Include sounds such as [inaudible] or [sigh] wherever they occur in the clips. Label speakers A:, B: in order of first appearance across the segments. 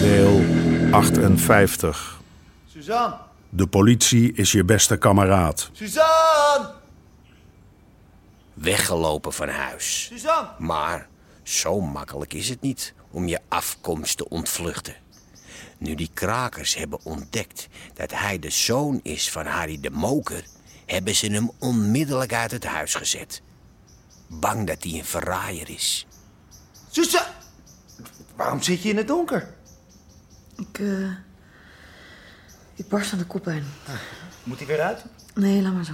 A: Deel 58.
B: Suzanne!
A: De politie is je beste kameraad.
B: Suzanne!
C: weggelopen van huis.
B: Suzanne!
C: Maar zo makkelijk is het niet om je afkomst te ontvluchten. Nu die krakers hebben ontdekt dat hij de zoon is van Harry de Moker, hebben ze hem onmiddellijk uit het huis gezet. Bang dat hij een verraaier is.
B: Suzanne! Waarom zit je in het donker?
D: Ik, eh, ik barst aan de kop heen.
B: Moet hij weer uit?
D: Nee, laat maar zo.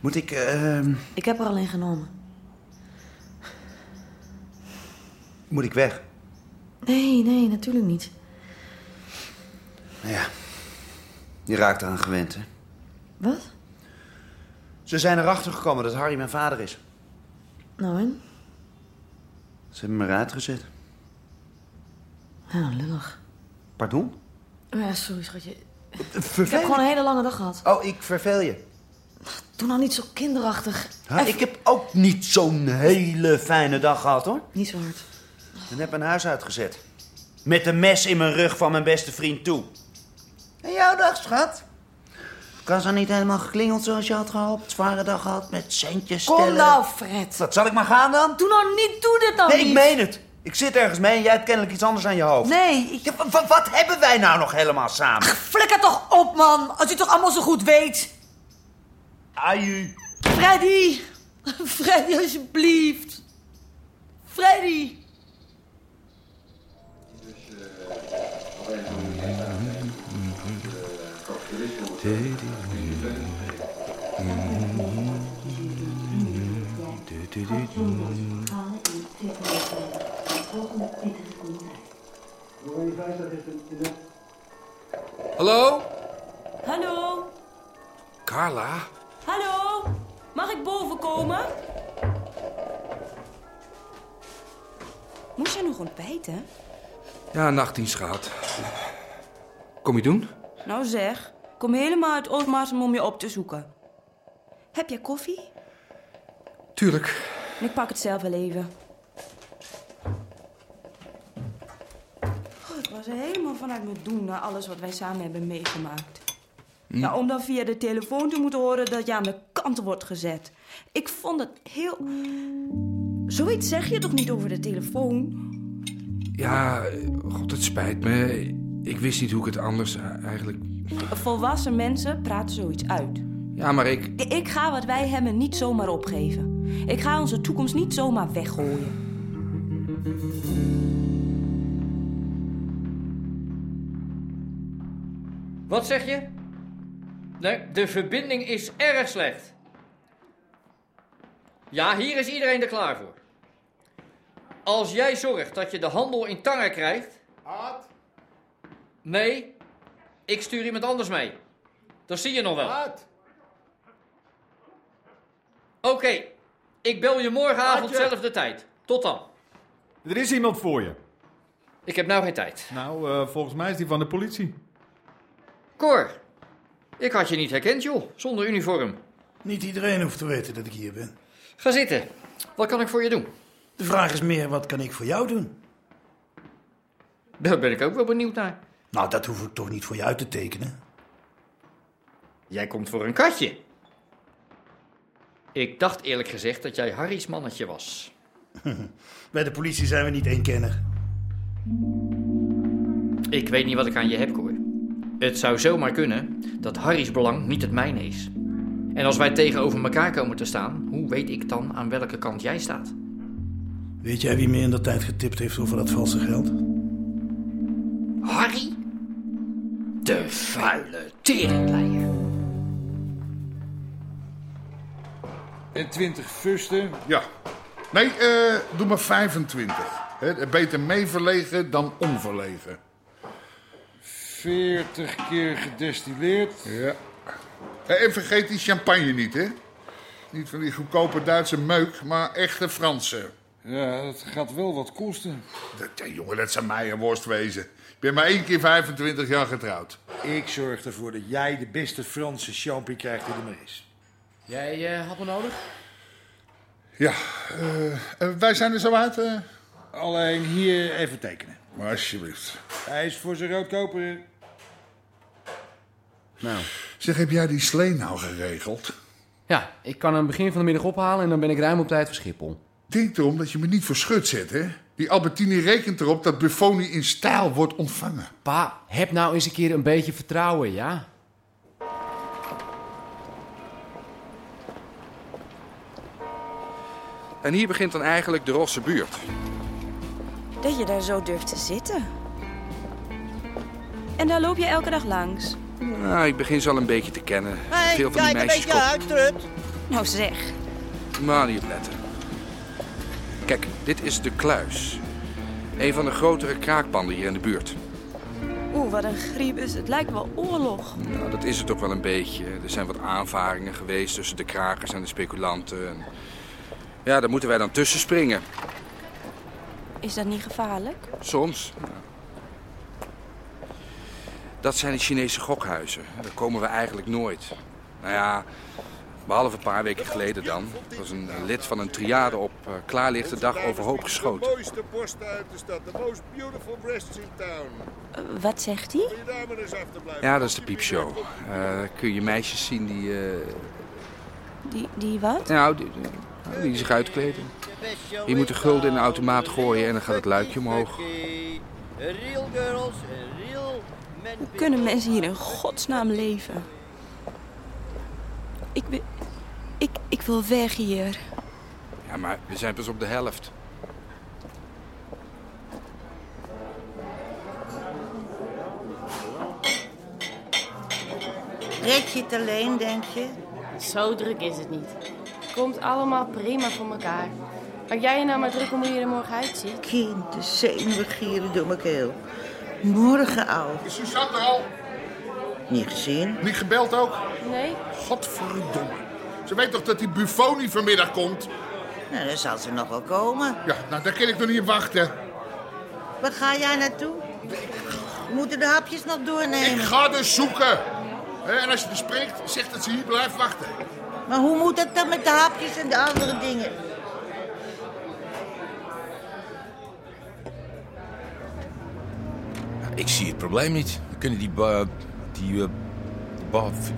B: Moet ik, ehm,
D: Ik heb er alleen genomen.
B: moet ik weg?
D: Nee, nee, natuurlijk niet.
B: Ja. Je raakt eraan gewend, hè?
D: Wat?
B: Ze zijn erachter gekomen dat Harry mijn vader is.
D: Nou en?
B: Ze hebben me eruit gezet.
D: Ja, nou, lullig.
B: Pardon?
D: Oh Ja, sorry schatje. Ik heb
B: Vervel
D: gewoon een hele lange dag gehad.
B: Oh, ik verveel je.
D: Doe nou niet zo kinderachtig.
B: Huh? Ik heb ook niet zo'n hele fijne dag gehad, hoor.
D: Niet zo hard.
B: En heb mijn huis uitgezet. Met een mes in mijn rug van mijn beste vriend toe. En jouw dag, schat? Kan ze niet helemaal geklingeld zoals je had gehoopt? Zware dag gehad met centjes
D: Kom
B: stellen.
D: nou, Fred.
B: Wat, zal ik maar gaan dan?
D: Doe nou niet, doe dit nou
B: Nee, ik
D: niet.
B: meen het. Ik zit ergens mee en jij hebt kennelijk iets anders aan je hoofd.
D: Nee, ik...
B: Ja, wa- wa- wat hebben wij nou nog helemaal samen?
D: Flikker toch op, man. Als u het toch allemaal zo goed weet.
B: Aju.
D: Freddy. Freddy, alsjeblieft. Freddy.
E: Hallo?
F: Hallo,
E: Carla?
F: hallo. Mag ik boven komen? Moest je nog ontbijten?
E: Ja, nachtdienst gehad. Kom je doen?
F: Nou zeg, kom helemaal uit Oostmaarsen om je op te zoeken. Heb jij koffie?
E: Tuurlijk.
F: Ik pak het zelf wel even. Oh, ik was helemaal vanuit mijn doen na alles wat wij samen hebben meegemaakt. Ja, om dan via de telefoon te moeten horen dat je aan de kant wordt gezet. Ik vond het heel... Zoiets zeg je toch niet over de telefoon?
E: Ja, eh, god, het spijt me. Ik wist niet hoe ik het anders eh, eigenlijk...
F: Volwassen mensen praten zoiets uit.
E: Ja, maar ik...
F: Ik ga wat wij hebben niet zomaar opgeven. Ik ga onze toekomst niet zomaar weggooien.
G: Wat zeg je? Nee, de verbinding is erg slecht. Ja, hier is iedereen er klaar voor. Als jij zorgt dat je de handel in tangen krijgt. Aad? Nee, ik stuur iemand anders mee. Dat zie je nog wel. Oké, ik bel je morgenavond zelfde tijd. Tot dan.
H: Er is iemand voor je.
G: Ik heb nou geen tijd.
H: Nou, eh, volgens mij is die van de politie.
G: Cor, ik had je niet herkend, joh, zonder uniform.
I: Niet iedereen hoeft te weten dat ik hier ben.
G: Ga zitten. Wat kan ik voor je doen?
I: De vraag is meer, wat kan ik voor jou doen?
G: Daar ben ik ook wel benieuwd naar.
I: Nou, dat hoef ik toch niet voor je uit te tekenen.
G: Jij komt voor een katje. Ik dacht eerlijk gezegd dat jij Harry's mannetje was.
I: Bij de politie zijn we niet eenkennig.
G: Ik weet niet wat ik aan je heb, Cor. Het zou zomaar kunnen dat Harry's belang niet het mijne is. En als wij tegenover elkaar komen te staan, hoe weet ik dan aan welke kant jij staat?
I: Weet jij wie me in dat tijd getipt heeft over dat valse geld?
G: Harry? De vuile teringleier.
J: En 20 fusten.
H: Ja. Nee, eh, doe maar 25. Hè, beter mee verlegen dan onverlegen.
J: 40 keer gedestilleerd.
H: Ja. Hé, En vergeet die champagne niet, hè? Niet van die goedkope Duitse meuk, maar echte Franse.
J: Ja, dat gaat wel wat kosten.
H: Dat, ja, jongen, dat zou mij een worst wezen. Ik ben maar één keer 25 jaar getrouwd.
J: Ik zorg ervoor dat jij de beste Franse champagne krijgt die er maar is.
G: Jij eh, had me nodig?
H: Ja, eh, eh, wij zijn er zo uit. eh.
J: Alleen hier even tekenen.
H: Maar alsjeblieft.
J: Hij is voor zijn roodkoper.
H: Nou. Zeg, heb jij die slee nou geregeld?
K: Ja, ik kan hem begin van de middag ophalen en dan ben ik ruim op tijd voor Schiphol.
H: Denk erom dat je me niet voor schut zet, hè? Die Albertini rekent erop dat Buffoni in stijl wordt ontvangen.
K: Pa, heb nou eens een keer een beetje vertrouwen, ja?
E: En hier begint dan eigenlijk de Rosse buurt.
F: Dat je daar zo durft te zitten. En daar loop je elke dag langs.
E: Nou, ik begin ze al een beetje te kennen.
F: Hey,
E: Veel van die
F: kijk een
E: meisjes
F: beetje
E: uit,
F: Nou zeg.
E: maar niet op letten. Kijk, dit is de Kluis. Een van de grotere kraakpanden hier in de buurt.
F: Oeh, wat een griep is. Het lijkt wel oorlog.
E: Nou, dat is het ook wel een beetje. Er zijn wat aanvaringen geweest tussen de krakers en de speculanten. En... Ja, daar moeten wij dan tussen springen.
F: Is dat niet gevaarlijk?
E: Soms. ja. Dat zijn de Chinese gokhuizen. Daar komen we eigenlijk nooit. Nou ja, behalve een paar weken geleden dan. Er was een lid van een triade op eh, klaarlichte dag overhoop geschoten.
L: De mooiste borsten uit de stad. The most beautiful breasts in town.
F: Wat zegt hij?
L: Wil je daar maar eens achterblijven?
E: Ja, dat is de piepshow. Eh, kun je meisjes zien die... eh,
F: Die, die wat?
E: nou, die, die- die zich uitkleden. Je moet de gulden in de automaat gooien en dan gaat het luikje omhoog.
L: Real girls, real men.
F: Hoe kunnen mensen hier in godsnaam leven? Ik, wil- ik, ik wil weg hier.
E: Ja, maar we zijn pas op de helft.
M: Red je het alleen, denk je? Zo druk is het niet.
N: Komt allemaal prima voor elkaar. Maak jij je nou maar druk om hoe je er morgen uitziet?
M: Kind, de zenuwen gieren door mijn keel. Morgen, ouwe.
H: Is Suzanne er al?
M: Niet gezien?
H: Niet gebeld ook?
N: Nee.
H: Godverdomme. Ze weet toch dat die Buffoni vanmiddag komt?
M: Nou, dan zal ze nog wel komen.
H: Ja, nou, daar kan ik nog niet op wachten.
M: Waar ga jij naartoe? We moeten de hapjes nog
H: Ik
M: doornemen.
H: ga dus zoeken. Hè, En als je er spreekt, zeg dat ze hier blijft wachten.
M: Maar hoe moet dat dan met de hapjes en de andere dingen?
C: Ik zie het probleem niet. We kunnen die... ba- die... eh, ba- b-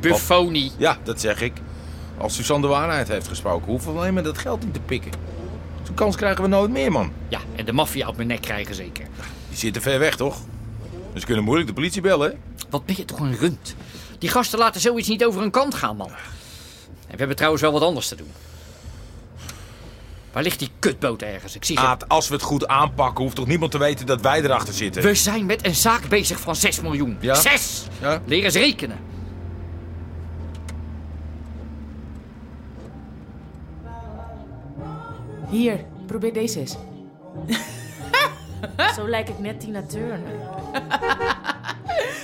G: Buffoni.
C: Ja, dat zeg ik. Als Suzanne de waarheid heeft gesproken, hoeven we alleen maar dat geld in te pikken. Zo'n kans krijgen we nooit meer, man.
G: Ja, en de maffia op mijn nek krijgen zeker.
C: Die zitten ver weg, toch? Dus ze kunnen moeilijk de politie bellen, hè?
G: Wat ben je toch een runt? Die gasten laten zoiets niet over hun kant gaan, man. En we hebben trouwens wel wat anders te doen. Waar ligt die kutboot ergens? Ik zie
K: Ah.
G: ze...
C: Aad, als we het goed aanpakken, hoeft toch niemand te weten dat wij erachter zitten?
G: We zijn met een zaak bezig van 6 miljoen.
C: Ja?
G: 6!
C: Ja?
G: Leer eens rekenen.
N: Hier, probeer deze eens. [laughs]
M: Zo lijkt het net Tina Turner.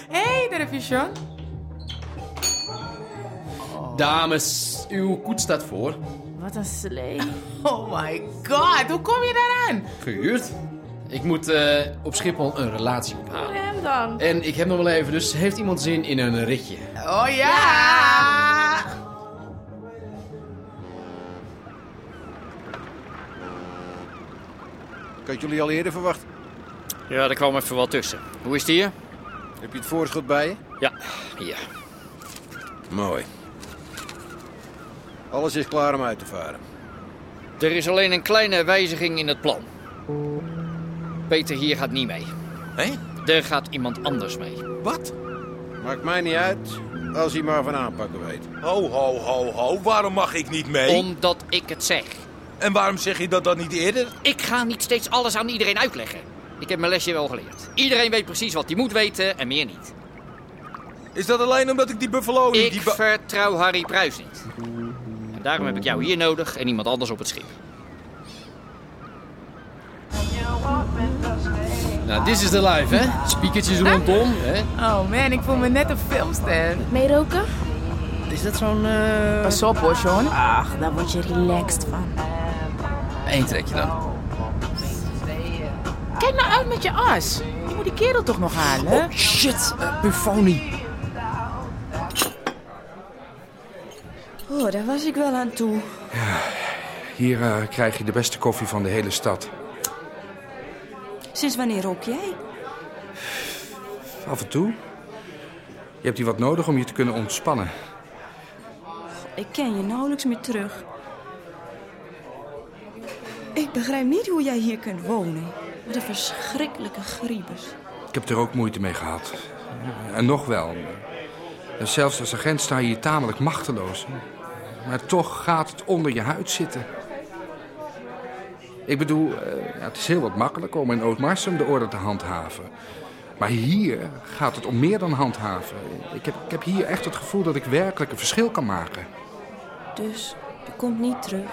N: Hé, [laughs] hey, daar heb je Sean.
K: Dames, uw koets staat voor.
N: Wat een slee. Oh my god, hoe kom je daaraan?
K: Gehuurd? Ik moet eh, op Schiphol een relatie ophalen.
N: Hem dan.
K: En ik heb nog wel even, dus heeft iemand zin in een ritje?
N: Oh ja!
J: Ik had jullie al eerder verwacht.
G: Ja, daar kwam even wat tussen. Hoe is het hier?
J: Heb je het voorschot bij je?
G: Ja, ja.
J: Mooi. Alles is klaar om uit te varen.
G: Er is alleen een kleine wijziging in het plan. Peter hier gaat niet mee.
C: Hé?
G: Er gaat iemand anders mee.
C: Wat?
J: Maakt mij niet uit als hij maar van aanpakken weet.
C: Ho, ho, ho, ho. Waarom mag ik niet mee?
G: Omdat ik het zeg.
C: En waarom zeg je dat dan niet eerder?
G: Ik ga niet steeds alles aan iedereen uitleggen. Ik heb mijn lesje wel geleerd. Iedereen weet precies wat hij moet weten en meer niet.
C: Is dat alleen omdat ik die Buffalo
G: Ik vertrouw Harry Pruis niet.
O: Daarom heb ik jou hier nodig en iemand anders op het schip.
G: Nou, dit is de live, hè? Spiekertjes rondom, hè?
P: Oh man, ik voel me net een filmster. Meeroken? Is dat zo'n... Pas op hoor, Sean. Ach, daar word je relaxed van.
G: Eén trekje dan.
P: Kijk nou uit met je as. Je moet die kerel toch nog halen?
G: Oh, shit, eh, Buffoni.
F: Oh, daar was ik wel aan toe.
E: Hier eh, krijg je de beste koffie van de hele stad.
F: Sinds wanneer rook jij?
E: Af en toe. Je hebt hier wat nodig om je te kunnen ontspannen.
F: Ik ken je nauwelijks meer terug. Ik begrijp niet hoe jij hier kunt wonen. Wat een verschrikkelijke griebus.
E: Ik heb er ook moeite mee gehad. En nog wel. En zelfs als agent sta je hier tamelijk machteloos. Maar toch gaat het onder je huid zitten. Ik bedoel, eh, ja, het is heel wat makkelijker om in Ootmarsum de orde te handhaven. Maar hier gaat het om meer dan handhaven. Ik heb, ik heb hier echt het gevoel dat ik werkelijk een verschil kan maken.
F: Dus je komt niet terug.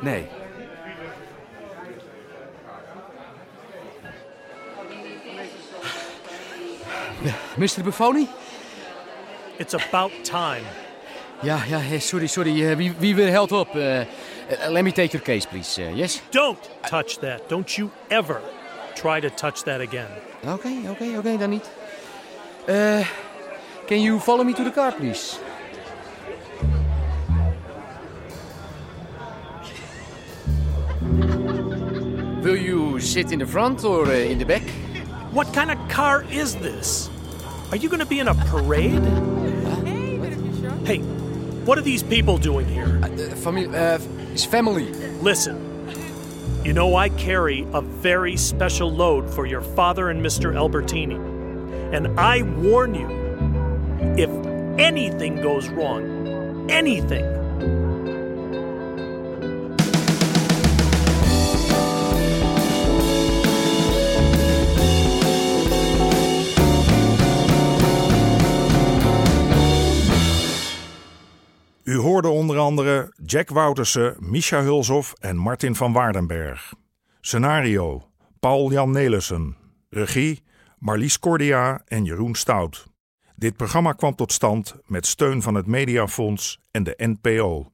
E: Nee.
G: Mr. Buffoni?
I: It's about time.
G: Ja, ja, eh, sorry, sorry. eh, Wie wie will help up? Eh, eh, let me take your case, please. eh, yes?
I: Don't touch that. Don't you ever try to touch that again.
G: Oké, oké, oké, dan niet. Eh, can you follow me to the car, please? Will you sit in the front or eh, in the back?
I: What kind of car is this? Are you going to be in a parade? Hey, what are these people doing here?
G: Family, uh, it's family.
I: Listen, you know I carry a very special load for your father and Mr. Albertini. And I warn you, if anything goes wrong, anything,
A: U hoorde onder andere Jack Woutersen, Misha Hulshoff en Martin van Waardenberg. Scenario: Paul-Jan Nelissen. Regie: Marlies Cordia en Jeroen Stout. Dit programma kwam tot stand met steun van het Mediafonds en de NPO.